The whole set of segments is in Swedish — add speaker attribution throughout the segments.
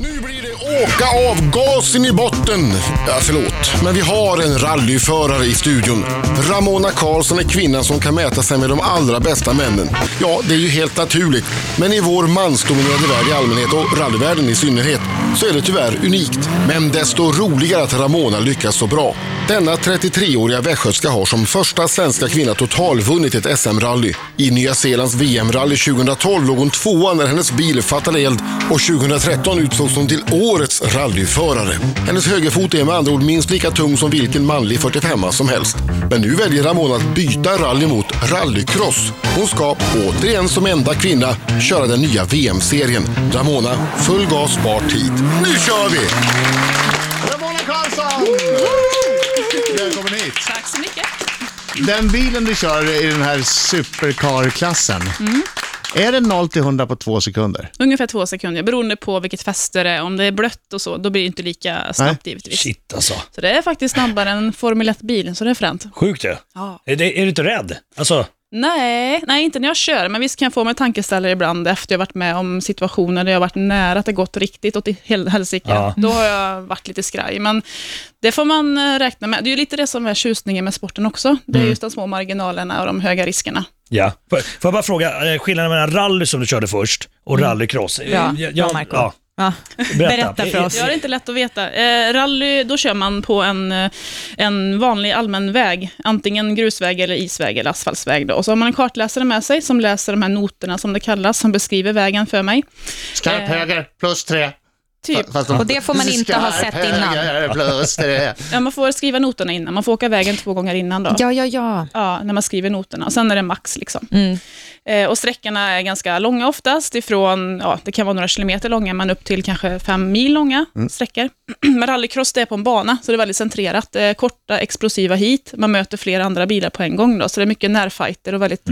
Speaker 1: Nu blir det åka av gasen i botten. Ja, förlåt, men vi har en rallyförare i studion. Ramona Karlsson är kvinnan som kan mäta sig med de allra bästa männen. Ja, det är ju helt naturligt. Men i vår mansdominerade värld i allmänhet och rallyvärlden i synnerhet så är det tyvärr unikt. Men desto roligare att Ramona lyckas så bra. Denna 33-åriga västgötska har som första svenska kvinna totalvunnit ett SM-rally. I Nya Zeelands VM-rally 2012 låg hon tvåa när hennes bil fattade eld och 2013 utsågs hon till årets rallyförare. Hennes högerfot är med andra ord minst lika tung som vilken manlig 45a som helst. Men nu väljer Ramona att byta rally mot rallycross. Hon ska återigen som enda kvinna köra den nya VM-serien. Ramona, full gas bart hit. Nu kör vi!
Speaker 2: Ramona Karlsson! Välkommen hit.
Speaker 3: Tack så mycket.
Speaker 2: Den bilen du kör i den här supercar-klassen. Är det 0 till 100 på två sekunder?
Speaker 3: Ungefär två sekunder, beroende på vilket fäste det är. Om det är blött och så, då blir det inte lika snabbt givetvis.
Speaker 4: Shit alltså.
Speaker 3: Så det är faktiskt snabbare än Formel 1-bilen, så det är fränt.
Speaker 4: Sjukt ju.
Speaker 3: Ja.
Speaker 4: Är, det, är du inte rädd? Alltså,
Speaker 3: Nej, nej, inte när jag kör, men visst kan jag få mig en tankeställare ibland efter jag varit med om situationer där jag varit nära att det gått riktigt åt i hel- helsike.
Speaker 4: Ja.
Speaker 3: Då har jag varit lite skraj, men det får man eh, räkna med. Det är ju lite det som är tjusningen med sporten också. Det är
Speaker 4: Mm.
Speaker 3: just de små marginalerna och de höga riskerna.
Speaker 4: ja. Får får jag bara fråga, eh, skillnaden mellan rally som du körde först och rallycross? Eh,
Speaker 5: Bra,
Speaker 4: jag-
Speaker 5: bra
Speaker 4: jag-
Speaker 5: Marco.
Speaker 4: ja.
Speaker 5: Mm. Ja.
Speaker 4: Berätta.
Speaker 5: Berätta. för oss.
Speaker 3: Ja, det är inte lätt att veta. Eh, rally, då kör man på en, eh, en vanlig allmän väg, antingen grusväg eller isväg eller asfaltsväg. Då. Och så har man en kartläsare med sig som läser de här noterna som det kallas, som beskriver vägen för mig.
Speaker 2: Skarp
Speaker 3: Eh.
Speaker 2: höger plus tre.
Speaker 3: Typ.
Speaker 2: Fast de-
Speaker 5: Och det får man inte ha sett
Speaker 2: Skarp
Speaker 5: innan.
Speaker 2: höger plus tre.
Speaker 3: Ja, man får skriva noterna innan, man får åka vägen två gånger innan. Då.
Speaker 5: Ja, ja, ja.
Speaker 3: Ja, när man skriver noterna. Sen är det max. Liksom.
Speaker 5: Mm.
Speaker 3: Eh, och sträckorna är ganska långa oftast, ifrån, ja, det kan vara några kilometer långa, men upp till kanske fem mil långa sträckor. men rallycross det är på en bana, så det är väldigt centrerat. Det är korta, explosiva hit. Man möter flera andra bilar på en gång, då, så det är mycket närfighter och väldigt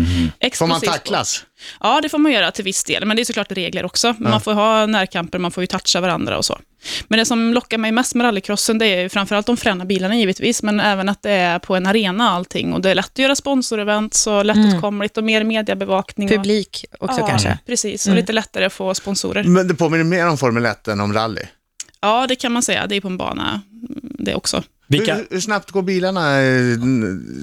Speaker 3: explosivt.
Speaker 2: Får man tacklas?
Speaker 3: Ja, det får man göra till viss del, men det är såklart regler också. Man får ha närkamper, man får ju toucha varandra och så. Men det som lockar mig mest med rallycrossen, det är ju framförallt de fräna bilarna givetvis, men även att det är på en arena allting. Och det är lätt att göra sponsorevent, så lättåtkomligt och mer mediebevakning. och-
Speaker 5: Mm. Publik också
Speaker 3: ja,
Speaker 5: kanske. Mm.
Speaker 3: precis. Och lite lättare att få sponsorer.
Speaker 2: Men det påminner mer om Formel 1 än om rally.
Speaker 3: Ja, det kan man säga. Det är på en bana mm, det också.
Speaker 4: Vilka,
Speaker 2: Hur, hur snabbt går bilarna? eh,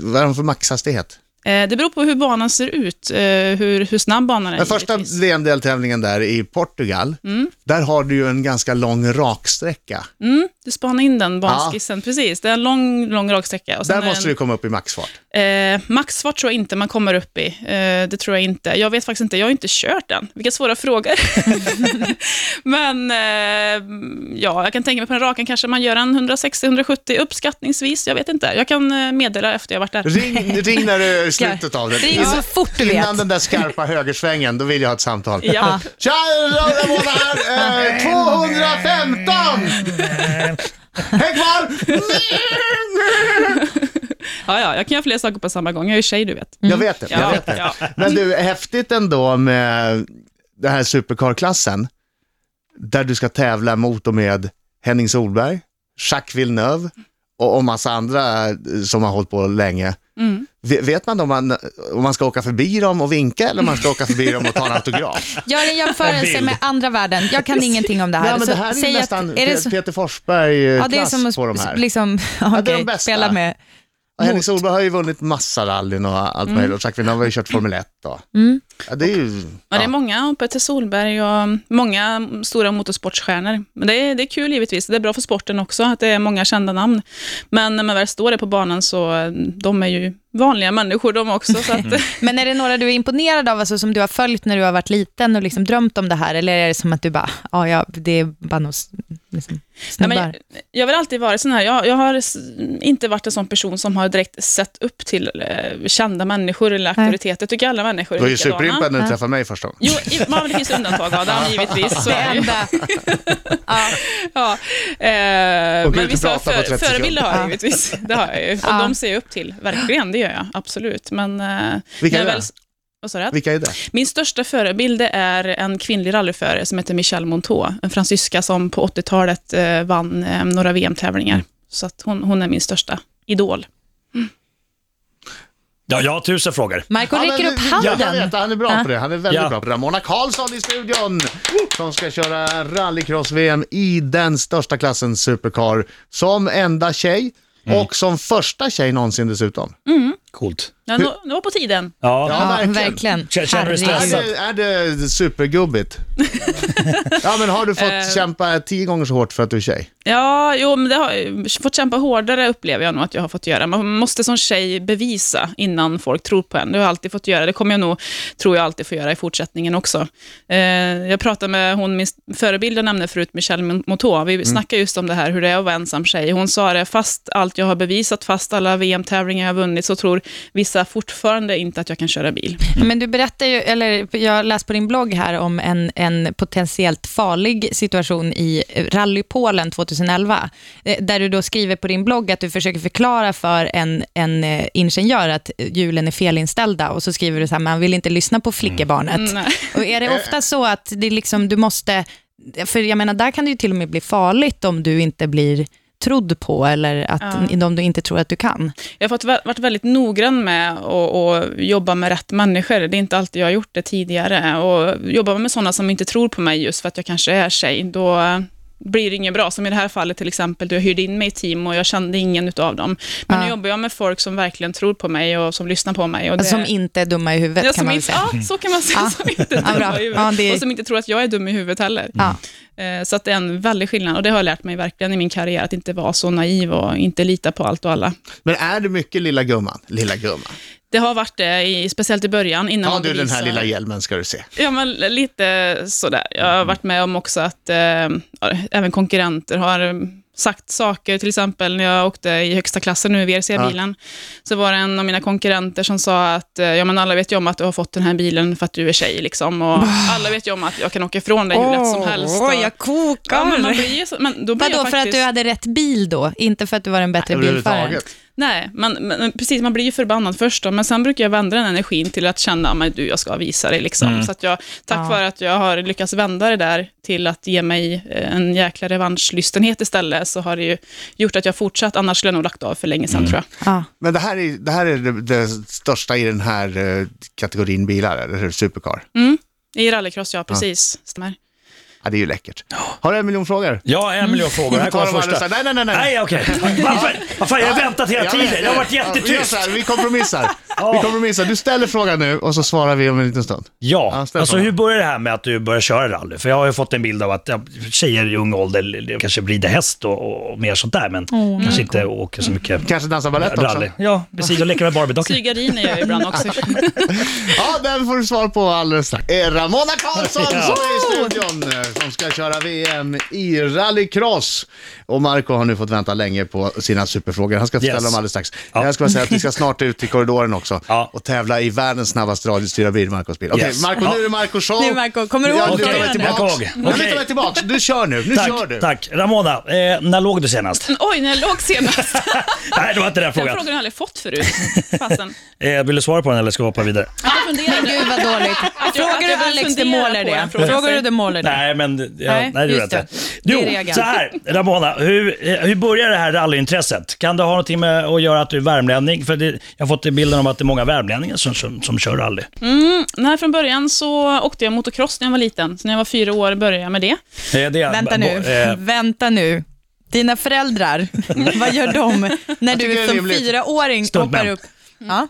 Speaker 2: Vad är de för maxhastighet?
Speaker 3: Eh, Det beror på hur banan ser ut, eh, hur, hur snabb banan är.
Speaker 2: Den första
Speaker 3: givetvis.
Speaker 2: VM-deltävlingen där i Portugal,
Speaker 5: Mm.
Speaker 2: där har du ju en ganska lång raksträcka.
Speaker 3: Mm, du spanade in den banskissen, precis. Det är en lång, lång raksträcka. Och sen är
Speaker 2: Där
Speaker 3: det en-
Speaker 2: måste du komma upp i maxfart.
Speaker 3: Eh, maxfart tror jag inte man kommer upp i. Eh, det tror jag inte. Jag vet faktiskt inte, jag har inte kört den. Vilka svåra frågor. Men eh, ja, jag kan tänka mig på den raken kanske man gör en 160-170 uppskattningsvis. Jag vet inte. Jag kan eh, meddela efter jag varit där.
Speaker 2: Ring, ring när du är i slutet av den.
Speaker 5: Ring så fort du vet.
Speaker 2: Innan den där skarpa högersvängen, då vill jag ha ett samtal.
Speaker 3: Ja.
Speaker 2: Tja, Ramona här! Eh, 215! Häng kvar!
Speaker 3: Ja, ja, jag kan göra fler saker på samma gång. Jag är ju tjej, du vet.
Speaker 2: Jag vet det, jag
Speaker 3: Ja,
Speaker 2: vet det.
Speaker 3: ja.
Speaker 2: Men du, häftigt ändå med den här supercar-klassen, där du ska tävla mot och med Henning Solberg, Jacques Villeneuve och, och massa andra eh, som har hållit på länge. Ve- Vet man då om man, om man ska åka förbi dem och vinka eller om man ska åka förbi dem och ta en autograf?
Speaker 5: Gör en jämförelse med andra världen. Jag kan ingenting om det här.
Speaker 2: Ja, men
Speaker 5: Så
Speaker 2: det här är ju
Speaker 5: säg
Speaker 2: nästan
Speaker 5: att, är det
Speaker 2: Pe-
Speaker 5: så,
Speaker 2: Peter Forsberg-klass
Speaker 5: ja, det är som att
Speaker 2: på de här.
Speaker 5: sp- liksom,
Speaker 2: är de
Speaker 5: okej,
Speaker 2: bästa.
Speaker 5: spela med.
Speaker 2: Och Henrik Solberg har ju vunnit massa rallyn och
Speaker 5: Mm.
Speaker 2: allt möjligt. Och Jacques Villeneuve har ju kört Formel 1. Då. Ja, det är ju...
Speaker 3: Ja, det är
Speaker 2: Ja.
Speaker 3: många, och Peter Solberg och många stora motorsportstjärnor. Men det är, det är kul givetvis, det är bra för sporten också att det är många kända namn. Men när man väl står där på banan så, eh, de är ju vanliga människor de också. Så att,
Speaker 5: Men är det några du är imponerad av, alltså, som du har följt när du har varit liten och liksom drömt om det här? Eller är det som att du bara, ja, ja det är bara några s- liksom,
Speaker 3: Nej,
Speaker 5: snubbar?
Speaker 3: men jag, jag har väl alltid varit sån här, jag, jag har s- inte varit en sån person som har direkt sett upp till eh, kända människor eller
Speaker 5: Nej.
Speaker 3: auktoriteter. Jag tycker alla människor
Speaker 2: Du
Speaker 3: är
Speaker 2: var ju
Speaker 3: likadana.
Speaker 2: superimpad när du
Speaker 5: Ja.
Speaker 2: träffade mig första gången.
Speaker 3: Jo, i- men det finns undantag Adam, givetvis. Så
Speaker 5: det
Speaker 3: är det ju.
Speaker 5: enda. ja.
Speaker 3: Ja, eh,
Speaker 2: Och kan
Speaker 3: men
Speaker 2: inte
Speaker 3: vissa
Speaker 2: prata på
Speaker 3: för,
Speaker 2: 30
Speaker 3: förebilder har jag
Speaker 5: Ja.
Speaker 3: givetvis. Det har jag ju. Och
Speaker 5: Ja.
Speaker 3: de ser jag upp till, verkligen. Det gör jag, absolut. Men, eh,
Speaker 2: Vilka
Speaker 3: när
Speaker 2: är
Speaker 3: jag
Speaker 2: det?
Speaker 3: Vad sa du?
Speaker 2: Vilka är det?
Speaker 3: Min största förebild det är en kvinnlig rallyförare som heter Michelle Monteau, en fransyska som på 80-talet eh, vann eh, några
Speaker 2: Mm.
Speaker 3: VM-tävlingar. Så att hon, hon är min största idol.
Speaker 4: Ja, jag har tusen frågor.
Speaker 5: Marco räcker upp handen.
Speaker 2: Jag vet, han är bra
Speaker 5: Ja.
Speaker 2: på det. Han är väldigt
Speaker 4: Ja.
Speaker 2: bra på det. Ramona Karlsson i studion som ska köra rallycross-VM i den största klassen supercar som enda tjej och som första tjej någonsin dessutom.
Speaker 4: Coolt.
Speaker 3: Ja, nu, nu var på tiden.
Speaker 4: Ja.
Speaker 2: Ja.
Speaker 5: Ja,
Speaker 2: verkligen.
Speaker 5: verkligen.
Speaker 4: Känner- känner du
Speaker 5: Herregud.
Speaker 2: Är
Speaker 4: stressad?
Speaker 2: det, är det supergubbigt? ja, men har du fått
Speaker 5: Eh.
Speaker 2: kämpa tio gånger så hårt för att du är tjej?
Speaker 3: Ja, jo, men det har jag fått kämpa hårdare upplever jag nog att jag har fått göra. Man måste som tjej bevisa innan folk tror på en. Det har jag alltid fått göra. Det kommer jag nog, tror jag alltid få göra i fortsättningen också. Eh, jag pratade med hon, min förebild jag nämnde förut, Michelle Motå. Vi snackade just om det här, hur det är att vara ensam tjej. Hon sa det, fast allt jag har bevisat, fast alla VM-tävlingar jag har vunnit, så tror vissa fortfarande inte att jag kan köra bil.
Speaker 5: Men du berättar ju, eller jag läste på din blogg här om en, en potentiellt farlig situation i Rally Polen 2011. eh, Där du då skriver på din blogg att du försöker förklara för en, en eh, ingenjör att hjulen är felinställda och så skriver du så här, man vill inte lyssna
Speaker 3: Mm.
Speaker 5: på flickebarnet.
Speaker 3: nej.
Speaker 5: Och är
Speaker 3: Eh.
Speaker 5: det ofta så att det är liksom, du måste, för jag menar där kan det ju till och med bli farligt om du inte blir trodd på eller att om du inte tror att du kan.
Speaker 3: Jag har fått, vä- varit väldigt noggrann med att att jobba med rätt människor. Det är inte alltid jag har gjort det tidigare. Och jobbar man med sådana som inte tror på mig just för att jag kanske är tjej, då eh, blir det inget bra. Som i det här fallet till exempel, då jag hyrde in mig i team och jag kände ingen utav dem. Men nu
Speaker 5: Ja.
Speaker 3: jobbar jag med folk som verkligen tror på mig och som lyssnar på mig. Och det,
Speaker 5: Alltså, som inte är dumma i huvudet
Speaker 3: Ja,
Speaker 5: kan
Speaker 3: som
Speaker 5: man väl
Speaker 3: inte,
Speaker 5: säga.
Speaker 3: ja, så kan man säga.
Speaker 5: Ja.
Speaker 3: Som inte är
Speaker 5: Ja, bra.
Speaker 3: dumma i huvudet.
Speaker 5: Ja, det-
Speaker 3: Och som inte tror att jag är dum i huvudet heller.
Speaker 5: Ja.
Speaker 3: Eh, Så att det är en väldig skillnad och det har jag lärt mig verkligen i min karriär, att inte vara så naiv och inte lita på allt och alla.
Speaker 2: Men är det mycket lilla gumman? Lilla gumman.
Speaker 3: Det har varit det, i, speciellt i början. Innan
Speaker 2: Ta
Speaker 3: man
Speaker 2: du den här
Speaker 3: bevisar-
Speaker 2: lilla hjälmen ska du se.
Speaker 3: Ja, men lite sådär. Jag
Speaker 5: Mm.
Speaker 3: har varit med om också att eh, ja, även konkurrenter har eh, sagt saker, till exempel när jag åkte i högsta klassen nu i VRC-bilen, så var det en av mina konkurrenter som sa att eh, ja, men alla vet ju om att du har fått den här bilen för att du är tjej, liksom, och alla vet ju om att jag kan åka ifrån dig hur lätt som helst. Och,
Speaker 5: Oj, jag kokar.
Speaker 3: ja, men man blir ju så, men då blir
Speaker 5: Vadå,
Speaker 3: jag
Speaker 5: för att
Speaker 3: faktiskt...
Speaker 5: du hade rätt bil då? Inte för att du var en bättre bilförare?
Speaker 2: Överhuvudtaget.
Speaker 3: Nej, man, men, precis, man blir ju förbannad först då, men sen brukar jag vända den energin till att känna, "Ah, men du, jag ska visa dig liksom. Så att jag, tack
Speaker 5: Ja.
Speaker 3: vare att jag har lyckats vända det där till att ge mig eh, en jäkla revanschlystenhet istället, så har det ju gjort att jag fortsatt, annars skulle jag nog lagt av för länge sedan tror jag.
Speaker 5: Ja.
Speaker 2: Men det här är det, här är det, det största i den här eh, kategorin bilar, eller hur? Supercar.
Speaker 4: Mm.
Speaker 3: I rallycross, ja, precis. Stämmer.
Speaker 2: Ja, det är ju läckert. Har du en miljon frågor?
Speaker 4: Jag har en miljon frågor. Här
Speaker 2: Ta
Speaker 4: kommer
Speaker 2: dem
Speaker 4: första.
Speaker 2: alldeles. Nej, nej, nej, nej.
Speaker 4: Nej, okej. Varför? Varför? Jag har väntat hela
Speaker 2: Jag
Speaker 4: tiden.
Speaker 2: vet,
Speaker 4: Jag har varit
Speaker 2: vet. Ja, Vi, gör så
Speaker 4: jättetyst.
Speaker 2: här, vi kompromissar. vi kompromissar. Du ställer frågan nu och så svarar vi om en liten stund. Ja,
Speaker 4: Ja,
Speaker 2: ställ
Speaker 4: alltså
Speaker 2: frågan.
Speaker 4: hur börjar det här med att du börjar köra rally? För jag har ju fått en bild av att ja, tjejer i ung ålder det kanske rider häst och, och mer sånt där, men
Speaker 5: Mm.
Speaker 4: kanske inte åker så mycket
Speaker 2: Kanske dansa balett Mm. också.
Speaker 4: rally. Ja, precis. Och leker med barbiedockor.
Speaker 3: Sygariner gör jag ibland också.
Speaker 2: Ja, den får du svar på alldeles strax. Eh, Ramona Karlsson som är i studion eh, som ska köra VM i rallycross. Och Marco har nu fått vänta länge på sina superfrågor. Han ska ställa
Speaker 4: Yes.
Speaker 2: dem alldeles strax.
Speaker 4: Ja.
Speaker 2: Jag ska bara säga att vi ska snart ut i korridoren också
Speaker 4: Ja.
Speaker 2: och tävla i världens snabbaste radiostyrda bil, Marcos bil. Okej,
Speaker 4: Yes.
Speaker 2: Marco,
Speaker 4: Ja.
Speaker 2: nu är det Marcos show.
Speaker 5: Nu är det Marco. Kommer du
Speaker 2: jag
Speaker 5: ihåg
Speaker 2: lutar
Speaker 4: den?
Speaker 2: mig
Speaker 4: Jag
Speaker 2: tillbaks.
Speaker 4: kommer ihåg.
Speaker 2: Jag
Speaker 4: Okej.
Speaker 2: lutar mig tillbaks. Du kör nu. Nu kör du.
Speaker 4: Tack, tack. Ramona, eh, när låg du senast?
Speaker 3: Oj, när jag låg senast.
Speaker 4: Nej, det var inte den
Speaker 3: Den
Speaker 4: frågan.
Speaker 3: frågan har jag aldrig fått förut. Fasen.
Speaker 4: Eh, vill du svara på den eller ska vi hoppa vidare?
Speaker 3: Att jag funderade.
Speaker 5: Gud vad dåligt. Frågar du
Speaker 3: jag började
Speaker 5: Alex, det
Speaker 3: fundera
Speaker 5: målar
Speaker 3: på
Speaker 5: det.
Speaker 3: en fråga.
Speaker 5: Frågar du, det målar det.
Speaker 4: Nej, men ja, nej,
Speaker 5: Nej,
Speaker 4: det gjorde jag
Speaker 5: just
Speaker 4: inte.
Speaker 5: det.
Speaker 4: Jo,
Speaker 5: Det är reagan.
Speaker 4: så här, Ramona, hur, eh, hur börjar det här rallyintresset? Kan det ha någonting med att göra att du är värmlänning? För det, jag har fått bilden om att det är många värmlänningar som, som, som kör rally.
Speaker 3: Nej, från början så åkte jag motocross när jag var liten, så när jag var fyra år började jag med det.
Speaker 4: Eh, det är- bo-
Speaker 5: Vänta nu,
Speaker 4: eh,
Speaker 5: vänta nu. Dina föräldrar, vad gör de när
Speaker 2: tycker det
Speaker 5: du
Speaker 2: är
Speaker 5: som
Speaker 2: rimligt.
Speaker 5: fyraåring
Speaker 4: Stuntman.
Speaker 5: hoppar upp? Ja.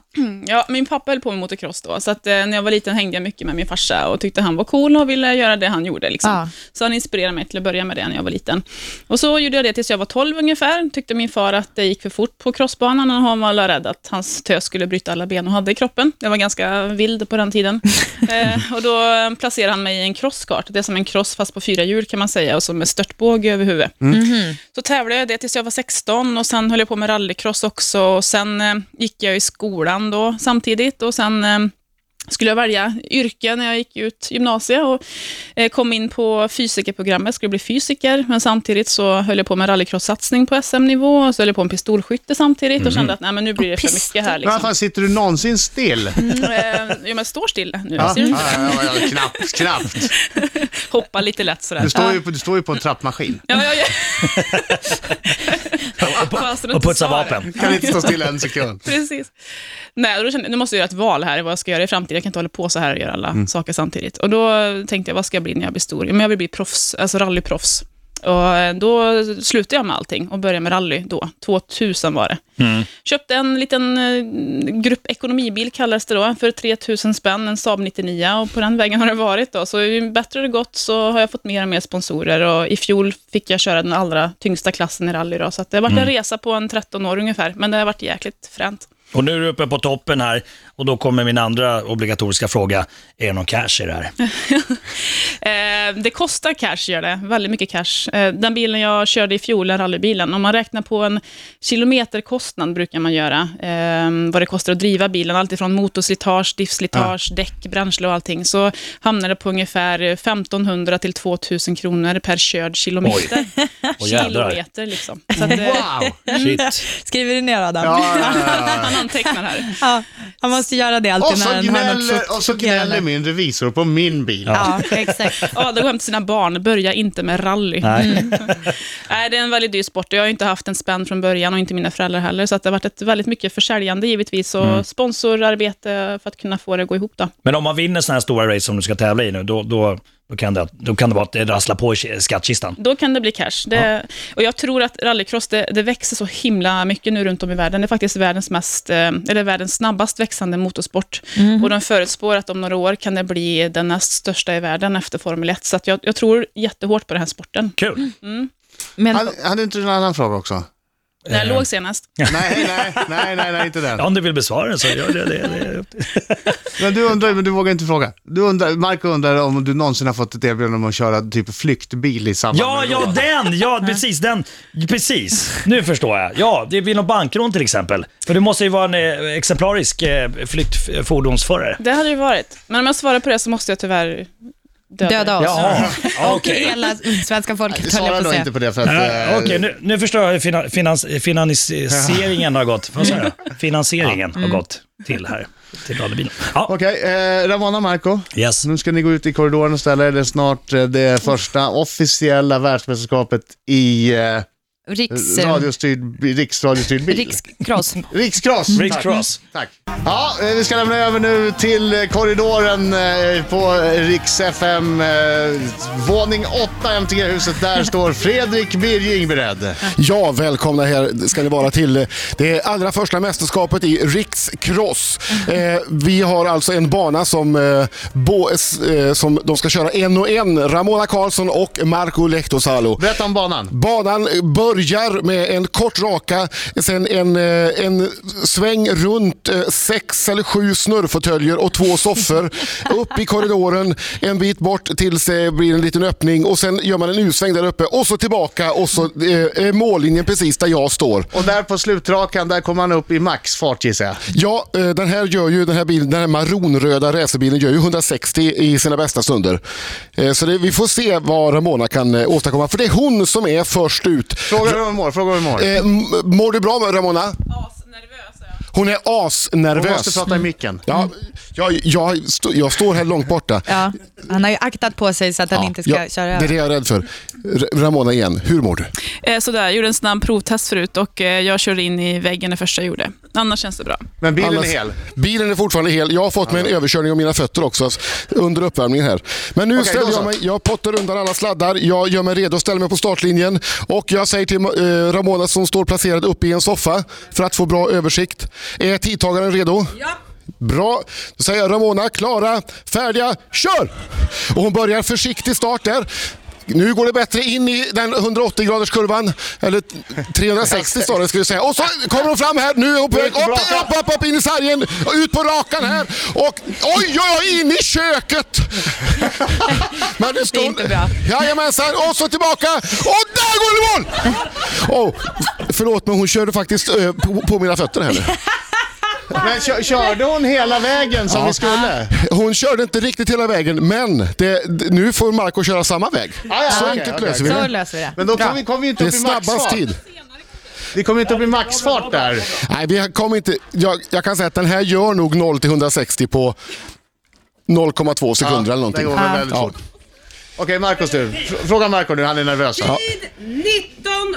Speaker 3: Ja, min pappa höll på med motocross då, så att, eh, när jag var liten hängde jag mycket med min farsa och tyckte han var cool och ville göra det han gjorde. Liksom.
Speaker 5: Ja.
Speaker 3: Så han inspirerade mig till att börja med det när jag var liten. Och så gjorde jag det tills jag var 12 ungefär. Tyckte min far att det gick för fort på crossbanan och han var alla rädd att hans tös skulle bryta alla ben hon hade i kroppen. Jag var ganska vild på den tiden. eh, och då eh, placerade han mig i en crosskart. Det är som en cross fast på fyra hjul kan man säga och som är störtbåge över huvudet. Så tävlade jag i det tills jag var 16 och sen höll jag på med rallycross också. Och sen eh, gick jag i skolan då samtidigt och sen eh, skulle jag välja yrke när jag gick ut gymnasiet och eh, kom in på fysikerprogrammet, skulle bli fysiker, men samtidigt så höll jag på med rallycross-satsning på SM-nivå, och så höll jag på med pistolskytte samtidigt och
Speaker 4: Mm.
Speaker 3: kände att nej, men nu blir det för mycket här.
Speaker 2: Men vad
Speaker 3: Liksom.
Speaker 2: fan, sitter du någonsin still?
Speaker 5: Mm,
Speaker 3: Eh, Jo, men jag står still nu,
Speaker 2: Ja.
Speaker 3: ser du inte?
Speaker 2: Ja, ja, ja, knappt, knappt.
Speaker 3: Hoppar lite lätt sådär.
Speaker 2: Du står, ju på, du står ju på en trappmaskin.
Speaker 3: Ja, ja, ja. Fasen,
Speaker 4: och
Speaker 3: inte
Speaker 4: putsa
Speaker 3: svara.
Speaker 4: vapen.
Speaker 2: Kan inte stå stilla en sekund.
Speaker 3: Precis. Nej, och då kände, jag, nu måste jag göra ett val här i vad jag ska göra i framtiden. Jag kan inte hålla på så här och göra alla saker samtidigt. Och då tänkte jag, vad ska jag bli när jag blir stor? Ja, Men jag vill bli proffs, alltså rallyproffs. Och eh, då slutade jag med allting och började med rally då. 2000 var det. Köpte en liten eh, grupp ekonomibil, kallades det då, för 3000 spänn, en Saab 99. Och på den vägen har det varit då. Så ju bättre det gått så har jag fått mer och mer sponsorer. Och i fjol fick jag köra den allra tyngsta klassen i rally då. Så att det har varit en resa på en 13 år ungefär. Men det har varit jäkligt fränt.
Speaker 4: Och nu är du uppe på toppen här och då kommer min andra obligatoriska fråga. Är det någon cash i det här?
Speaker 3: Eh, det kostar cash, gör det. Väldigt mycket cash. Eh, den bilen jag körde i fjol, den rallybilen, om man räknar på en kilometerkostnad brukar man göra, eh, vad det kostar att driva bilen, allt ifrån motorslitage, diffslitage, däck, bränsle och allting, så hamnar det på ungefär 1500 till 2000 kronor per körd kilometer.
Speaker 4: Åh, jädrar.
Speaker 3: kilometer liksom. Så att, eh,
Speaker 2: Wow!
Speaker 4: Shit.
Speaker 5: Skriver du ner Adam?
Speaker 2: Ja, ja, ja.
Speaker 3: Han antecknar här.
Speaker 5: Ja, han måste göra det alltid
Speaker 2: Och så
Speaker 5: när han har något
Speaker 2: gnäller,
Speaker 5: fort-
Speaker 2: och så gnäller min revisor på min bil.
Speaker 5: Ja, exakt.
Speaker 3: Ja, det går hem till sina barn. Börja inte med rally.
Speaker 4: Nej.
Speaker 3: Nej, det är en väldigt dyr sport. Jag har ju inte haft en spänn från början och inte mina föräldrar heller, så att det har varit ett väldigt mycket försäljande givetvis och sponsorarbete för att kunna få det att gå ihop. Då.
Speaker 4: Men om man vinner sådana här stora race som du ska tävla i nu, då, då, då, kan, det, då kan det vara att det rasslar på i ki- skattkistan.
Speaker 3: då kan det bli cash. Det, och jag tror att rallycross, det, det växer så himla mycket nu runt om i världen. Det är faktiskt världens, mest, eh, eller världens snabbast växande motorsport. Och de förutspår att om några år kan det bli den näst största i världen efter Formel 1. Så att jag, jag tror jättehårt på den här sporten.
Speaker 4: Kul.
Speaker 5: Men,
Speaker 2: Hade- Hade inte du en annan fråga också?
Speaker 3: När jag låg senast.
Speaker 2: Nej, nej, nej, nej, nej, inte den.
Speaker 4: Ja, om du vill besvara den så gör det. det, det.
Speaker 2: Men du undrar, men du vågar inte fråga. Du undrar, Marco undrar om du någonsin har fått ett erbjudande om att köra typ flyktbil i samband
Speaker 4: Ja,
Speaker 2: med
Speaker 4: ja,
Speaker 2: rån.
Speaker 4: den! Ja, precis. den. Precis. Nu förstår jag. Ja, det blir någon bankrån till exempel. För du måste ju vara en eh, exemplarisk eh, flyktfordonsförare.
Speaker 3: Det hade det varit. Men om jag svarar på det så måste jag tyvärr döda,
Speaker 5: döda oss.
Speaker 4: Jaha,
Speaker 5: Och
Speaker 4: okej.
Speaker 5: hela svenska folket, höll jag
Speaker 2: Svara
Speaker 5: på
Speaker 2: då
Speaker 5: att säga.
Speaker 2: inte på det för att...
Speaker 4: Äh,
Speaker 2: eh,
Speaker 4: Okej, nu, nu förstår jag hur fina, finans, finansieringen har gått. Vad sa jag? Finansieringen har gått till här, till radiobilen. Ja,
Speaker 2: Okej, eh, Ramona och Marco.
Speaker 4: yes.
Speaker 2: Nu ska ni gå ut i korridoren och ställa er. Det är snart eh, det första officiella världsmästerskapet i eh,
Speaker 5: Riks...
Speaker 2: radiostyrd, riksradiostyrd bil.
Speaker 5: Rikskross.
Speaker 2: Rikscross.
Speaker 1: Mm.
Speaker 4: Riks
Speaker 2: Tack.
Speaker 4: Cross.
Speaker 2: Tack. Ja, eh, vi ska lämna över nu till eh, korridoren eh, på Riks FM, eh, våning 8 MTG-huset. Där står Fredrik Birging beredd.
Speaker 1: Ja, välkomna här ska ni vara till eh, det allra första mästerskapet i Rikscross. Eh, vi har alltså en bana som, eh, bo, eh, som de ska köra en och en. Ramona Karlsson och Marco Lehtosalo.
Speaker 2: Berätta om banan.
Speaker 1: Banan börjar med en kort raka, sen en, eh, en sväng runt eh, sex eller sju snurrfåtöljer och två soffor. Upp i korridoren, en bit bort tills det blir en liten öppning och sen gör man en U-sväng där uppe och så tillbaka och så eh, är mållinjen precis där jag står.
Speaker 2: Och där på slutrakan, där kommer han upp i maxfart gissar jag.
Speaker 1: Ja, eh, den här gör ju den här bilen, den här maronröda racerbilen gör ju 160 i sina bästa stunder. Eh, Så det, vi får se vad Ramona kan eh, åstadkomma, för det är hon som är först ut.
Speaker 2: Fråga hur hon mår, fråga hur hon mår.
Speaker 1: Eh, m- mår du bra Ramona?
Speaker 3: Asnervös är jag.
Speaker 1: Hon är
Speaker 2: Hon
Speaker 1: asnervös.
Speaker 2: måste prata i micken.
Speaker 1: Ja, jag, jag, st- jag står här långt borta.
Speaker 5: Ja, han har ju aktat på sig så att han
Speaker 1: Ja,
Speaker 5: inte ska
Speaker 1: jag-
Speaker 5: köra
Speaker 1: Det är
Speaker 5: över.
Speaker 1: det jag är rädd för. R- Ramona igen, hur mår du?
Speaker 3: Eh, sådär, jag gjorde en snabb provtest förut och eh, jag körde in i väggen det första jag gjorde. Annars känns det bra.
Speaker 2: Men bilen
Speaker 1: Annars-
Speaker 2: är hel.
Speaker 1: Bilen är fortfarande hel. Jag har fått mig en överkörning av mina fötter också under uppvärmningen här. Men nu
Speaker 2: Okej,
Speaker 1: ställer
Speaker 2: då så.
Speaker 1: jag mig, jag pottar undan alla sladdar, jag gör mig redo att ställa mig på startlinjen och jag säger till eh, Ramona som står placerad uppe i en soffa för att få bra översikt. Är tidtagaren redo? Ja. Bra. Då säger jag Ramona, klara, färdiga, kör! Och hon börjar försiktig start där. Nu går det bättre in i den 180-graderskurvan, eller 360 står det skulle jag säga. Och så kommer hon fram här, nu är hon på väg upp, upp, upp, upp in i sargen, ut på rakan här. Och oj, oj, oj, in i köket! Men det, stod,
Speaker 5: inte bra.
Speaker 1: Jajamensan, och så tillbaka och där går det mål! Oh, förlåt, men hon körde faktiskt eh, på, på mina fötter här nu.
Speaker 2: Men kö- körde hon hela vägen som vi skulle?
Speaker 1: Hon körde inte riktigt hela vägen, men det, det- nu får Marco köra samma väg.
Speaker 2: Ah, ja,
Speaker 1: Så
Speaker 2: okej,
Speaker 1: enkelt
Speaker 2: okej,
Speaker 1: löser vi
Speaker 5: Så
Speaker 1: det.
Speaker 5: löser vi det.
Speaker 2: Men då kom vi, kom vi ju
Speaker 1: Det
Speaker 2: inte
Speaker 1: är
Speaker 2: upp i maxfart.
Speaker 1: snabbast tid.
Speaker 2: Vi kom ju inte upp i maxfart där.
Speaker 1: Nej, vi kom inte, jag, jag kan säga att den här gör nog 0 till 160 på 0,2 sekunder eller
Speaker 2: Det
Speaker 1: någonting.
Speaker 2: går väl väldigt
Speaker 1: Ja.
Speaker 2: fort. Okej, Marcos tur. Fr- Fråga Marco nu, han är nervös. va?
Speaker 6: Tid 19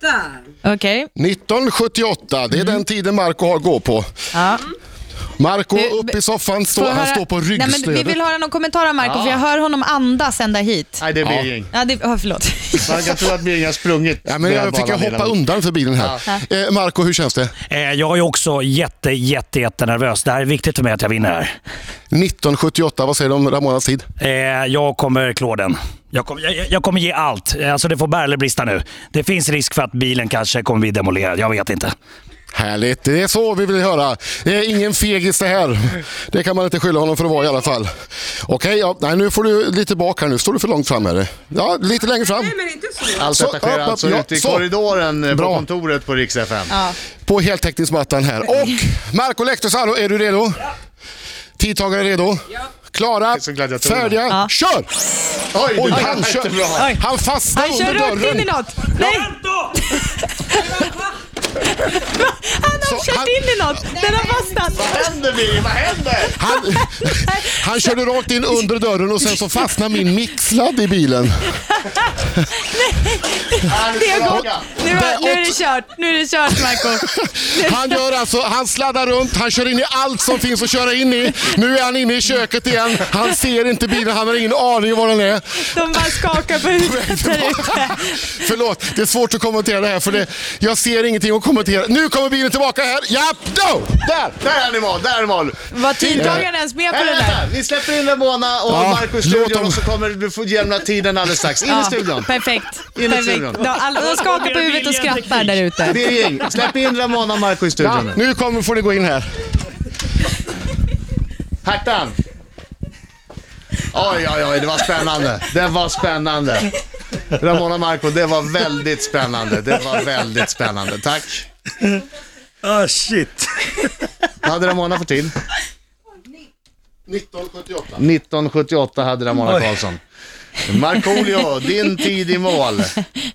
Speaker 6: där.
Speaker 5: Okej.
Speaker 1: 1978, det är
Speaker 2: Mm.
Speaker 1: den tiden Marco har att gå på.
Speaker 5: Ja.
Speaker 1: Marco
Speaker 5: Nu-
Speaker 1: upp i soffan, stå,
Speaker 5: Får jag
Speaker 1: han
Speaker 5: höra-
Speaker 1: står på
Speaker 5: Nej, men Vi
Speaker 1: ryggstödet.
Speaker 5: vill höra någon kommentar av Marco, för jag hör honom andas ända hit.
Speaker 2: Nej, det är Birging.
Speaker 5: Ja, det, oh, förlåt.
Speaker 2: Man kan tro att Birging har sprungit.
Speaker 1: Ja, men
Speaker 2: den här
Speaker 1: jag fick jag
Speaker 2: banan hela
Speaker 1: hoppa
Speaker 2: vägen.
Speaker 1: undan för bilen här. Eh, Marco, hur känns det?
Speaker 4: Eh, jag är också jätte, jätte, jätte nervös. Det här är viktigt för mig att jag vinner här.
Speaker 1: 1978, vad säger du om Ramonas tid?
Speaker 4: Eh, jag kommer klå den. Jag kommer, jag, jag kommer ge allt. Eh, Alltså det får bära eller brista nu. Det finns risk för att bilen kanske kommer bli demolerad. Jag vet inte.
Speaker 1: Härligt, det är så vi vill höra. Det är ingen fegis det här. Det kan man inte skylla honom för att vara i alla fall. Okej, ja, nej, nu får du lite bak här nu. Står du för långt fram? Är det? Ja, lite längre fram.
Speaker 6: Nej men inte så.
Speaker 2: Allt
Speaker 1: Så,
Speaker 2: detta sker
Speaker 1: upp, upp,
Speaker 2: alltså
Speaker 1: ja,
Speaker 2: ute i
Speaker 1: så.
Speaker 2: korridoren eh,
Speaker 1: Bra.
Speaker 2: på kontoret på Rix FM.
Speaker 1: På heltäckningsmattan här. Och Marco Lehtosalo, är du redo? Tidtagare redo? Klara,
Speaker 2: är så glad jag tror det.
Speaker 1: färdiga, kör!
Speaker 2: Oj,
Speaker 1: Oj,
Speaker 2: det var
Speaker 1: han kör!
Speaker 2: jättebra.
Speaker 1: Han fastnar
Speaker 5: Han kör
Speaker 1: under
Speaker 5: rakt in i
Speaker 1: dörren.
Speaker 5: något. Nej, han har
Speaker 1: Så
Speaker 5: kört
Speaker 1: han-
Speaker 5: in i något. Den har fastnat.
Speaker 2: Vad händer Birging? Vad händer?
Speaker 1: Han, han körde rakt in under dörren och sen så fastnade min mixladd i bilen.
Speaker 2: Här,
Speaker 5: Det har gått.
Speaker 2: tillbaka.
Speaker 5: Nu, har- nu är det kört. Nu är det kört, Marco.
Speaker 1: Han gör alltså, han sladdar runt, han kör in i allt som finns att köra in i. Nu är han inne i köket igen. Han ser inte bilen, han har ingen aning om var den är.
Speaker 5: De bara skakar på huvudet där ute.
Speaker 1: Förlåt, det är svårt att kommentera det här för det, jag ser ingenting att kommentera. Nu kommer bilen tillbaka här. Ja, då! Där!
Speaker 2: Där är animal, där är animal.
Speaker 5: Var tidtagaren ens med på
Speaker 2: Nej,
Speaker 5: det där?
Speaker 2: vänta. Vi släpper in Ramona och
Speaker 1: Ja,
Speaker 2: Marco i
Speaker 1: låt
Speaker 2: studion
Speaker 1: dem.
Speaker 2: och så kommer du få jämna tiden alldeles strax. In i
Speaker 5: Ja,
Speaker 2: studion.
Speaker 5: Perfekt.
Speaker 2: In i
Speaker 5: perfekt.
Speaker 2: studion.
Speaker 5: De, alla, de skakar på huvudet och skrattar där ute.
Speaker 2: Birging, släpp in Ramona och Marco i
Speaker 1: Ja,
Speaker 2: studion. nu.
Speaker 1: nu kommer, får ni gå in här.
Speaker 2: Hertan. Oj, oj, oj, det var spännande. Det var spännande. Ramona och Marco, det var väldigt spännande. Det var väldigt spännande. Tack.
Speaker 4: Ah shit.
Speaker 2: Vad hade Ramona för tid?
Speaker 1: 1978.
Speaker 2: 1978 hade Ramona
Speaker 4: Oj.
Speaker 2: Karlsson. Markoolio, din tid i mål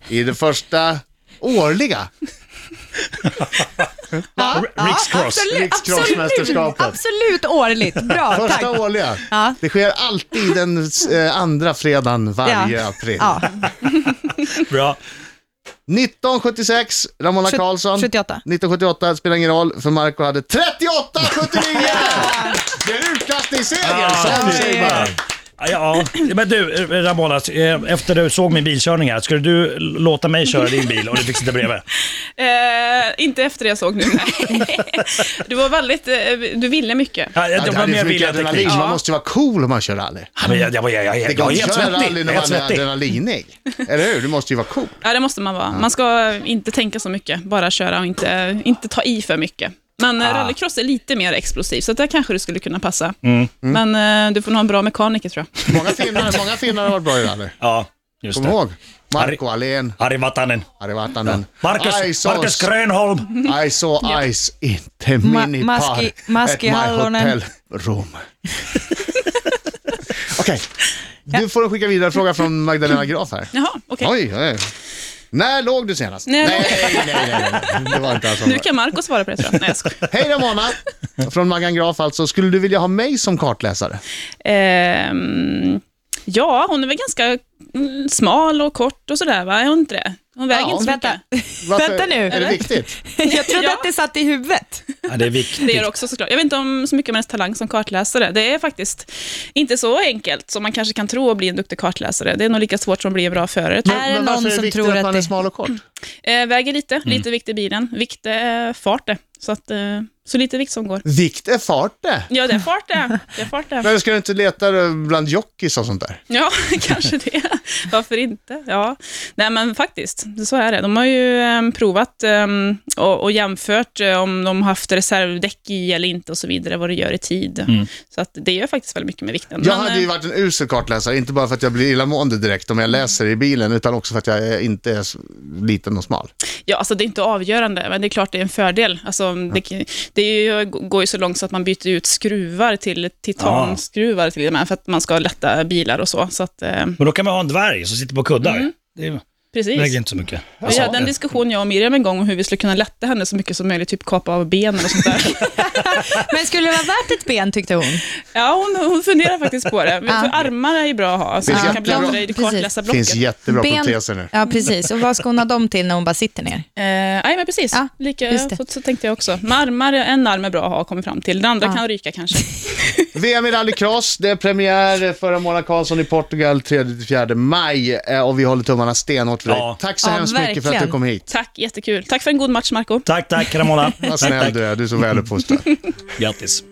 Speaker 2: i det första årliga Ah,
Speaker 4: Rick's Cross.
Speaker 5: Absolut, absolut,
Speaker 2: Rikscrossmästerskapet.
Speaker 5: absolut årligt. Bra, tack.
Speaker 2: Första årliga.
Speaker 5: Ja.
Speaker 2: Det sker alltid den eh, andra fredagen varje april.
Speaker 5: Ja,
Speaker 4: Bra.
Speaker 2: 1976, Ramona
Speaker 5: Sjut-
Speaker 2: Karlsson.
Speaker 5: 78.
Speaker 2: 1978, spelar ingen roll, för Marco hade 38-79! Det är en utklassningsseger, som vi säger bara.
Speaker 4: Ja, Ja, men du eh, Ramona, eh, efter du såg min bilkörning här, skulle du l- låta mig köra din bil och du fick sitta bredvid?
Speaker 3: Eh, inte efter det jag såg nu, nej. Du var väldigt, eh, du ville mycket.
Speaker 4: Ja, jag,
Speaker 2: Det
Speaker 4: det var
Speaker 2: hade
Speaker 4: mer
Speaker 2: för mycket
Speaker 4: viljateknik.
Speaker 2: adrenalin,
Speaker 4: Ja.
Speaker 2: man måste ju vara cool om man kör rally.
Speaker 4: men Jag, jag, var- jag, jag, jag,
Speaker 2: Det
Speaker 4: jag
Speaker 2: går
Speaker 4: är
Speaker 2: inte att
Speaker 4: helt
Speaker 2: köra rally
Speaker 4: svettig.
Speaker 2: när
Speaker 4: Jag är helt
Speaker 2: man är
Speaker 4: svettig.
Speaker 2: adrenalinig. Eller hur? Du måste ju vara cool.
Speaker 3: Ja, det måste man vara. Man ska inte tänka så mycket, bara köra och inte, inte ta i för mycket. Men eh, rallycross är lite mer explosiv, så där kanske du skulle kunna passa. Men eh, du får nog ha en bra mekaniker, tror jag.
Speaker 2: Många finnar, många finnar har varit bra i rally.
Speaker 4: Ja, just
Speaker 2: Kom
Speaker 4: det.
Speaker 2: ihåg. Marco Allén,
Speaker 4: Harry Vatanen.
Speaker 2: Harry Vatanen. I
Speaker 4: Marcus,
Speaker 2: saw-
Speaker 4: Marcus Grönholm.
Speaker 2: I saw ice in the
Speaker 5: Ma-
Speaker 2: mini bar
Speaker 5: maski- maski
Speaker 2: at my
Speaker 5: hallonen.
Speaker 2: hotel room. Okej, du får skicka vidare en fråga från Magdalena
Speaker 5: Mm.
Speaker 2: Graf här.
Speaker 3: Jaha, okej.
Speaker 2: Oj, oj. När låg du senast?
Speaker 3: När jag
Speaker 2: nej, nej, nej, nej. Det var inte alls
Speaker 3: Nu
Speaker 2: kan...
Speaker 3: kan Marco svara på det, tror jag. Nej, jag skojar.
Speaker 2: Hej Ramona! Från Maggan Graf alltså. Skulle du vilja ha mig som kartläsare?
Speaker 3: Ehm, ja, hon är väl ganska mm, smal och kort och sådär, va? Är hon inte det? Hon väger
Speaker 2: Ja,
Speaker 3: inte så
Speaker 5: vänta.
Speaker 3: mycket.
Speaker 5: Vänta nu.
Speaker 2: Är det
Speaker 5: Eller?
Speaker 2: viktigt?
Speaker 5: Jag trodde
Speaker 3: Ja.
Speaker 5: att det satt i huvudet.
Speaker 4: Ja, det är viktigt.
Speaker 3: Det gör det också såklart. Jag vet inte om så mycket om hennes talang som kartläsare. Det är faktiskt inte så enkelt som man kanske kan tro att bli en duktig kartläsare. Det är nog lika svårt som att bli en bra förare. tror jag.
Speaker 5: Är det
Speaker 2: varför
Speaker 5: någon
Speaker 2: är det
Speaker 5: som
Speaker 2: viktigt
Speaker 5: tror
Speaker 2: att
Speaker 5: att
Speaker 2: man är
Speaker 5: det-
Speaker 2: smal och kort?
Speaker 3: Eh, väger lite, lite vikt i bilen. Vikt är fart det. Så, att, eh, så lite vikt som går.
Speaker 2: Vikt är fart det.
Speaker 3: Ja, det är fart det. det, är fart det.
Speaker 2: Men ska du inte leta bland jockeys och sånt där?
Speaker 3: Ja, kanske det. Varför inte? Ja. Nej, men faktiskt, så är det. De har ju eh, provat eh, och, och jämfört eh, om de har haft reservdäck i eller inte och så vidare, vad det gör i tid. Så att det gör faktiskt väldigt mycket med vikten.
Speaker 2: Mm. Jag
Speaker 3: Men,
Speaker 2: hade ju
Speaker 3: eh,
Speaker 2: varit en usel kartläsare, inte bara för att jag blir illamående direkt om jag
Speaker 5: Mm.
Speaker 2: läser i bilen, utan också för att jag är- inte är så liten och smal.
Speaker 3: Ja, alltså det är inte avgörande, men det är klart det är en fördel. Alltså, det, det är ju, går ju så långt så att man byter ut skruvar
Speaker 2: Ah.
Speaker 3: till titanskruvar till och med, för att man ska lätta bilar och så. så att, eh,
Speaker 4: Men då kan man ha en dvärg som sitter på kuddar. Det är,
Speaker 3: Precis.
Speaker 4: Väger inte så mycket.
Speaker 3: Vi hade en diskussion jag och Miriam en gång om hur vi skulle kunna lätta henne så mycket som möjligt, typ kapa av ben och sånt där.
Speaker 5: Men skulle det vara värt ett ben, tyckte hon.
Speaker 3: ja, hon, hon funderar faktiskt på det.
Speaker 5: Ja.
Speaker 3: För armar är ju bra att ha, så
Speaker 2: Finns
Speaker 3: man kan
Speaker 2: jättebra.
Speaker 3: bläddra i det
Speaker 5: Precis.
Speaker 3: kartläsa
Speaker 2: Det
Speaker 3: blocket.
Speaker 2: finns jättebra
Speaker 5: ben...
Speaker 2: proteser nu.
Speaker 5: Ja, precis. Och vad ska hon ha dem till när hon bara sitter ner?
Speaker 3: Eh, nej, men precis.
Speaker 5: Ja,
Speaker 3: Lika,
Speaker 5: just det.
Speaker 3: så, så tänkte jag också. Men armar, en arm är bra att ha, kommer fram till. Den andra
Speaker 5: Ja.
Speaker 3: kan ryka kanske.
Speaker 2: VM i rallycross, det är premiär för Mona Karlsson i Portugal 3-4 maj eh, och vi håller tummarna stenhårt för dig.
Speaker 4: Ja.
Speaker 2: Tack så
Speaker 5: Ja,
Speaker 2: hemskt mycket för att du
Speaker 5: verkligen.
Speaker 2: kom hit.
Speaker 3: Tack, jättekul. Tack för en god match, Marco.
Speaker 4: Tack, tack Ramona.
Speaker 2: Vad snäll du är, du är så väluppfostrad.
Speaker 4: Grattis.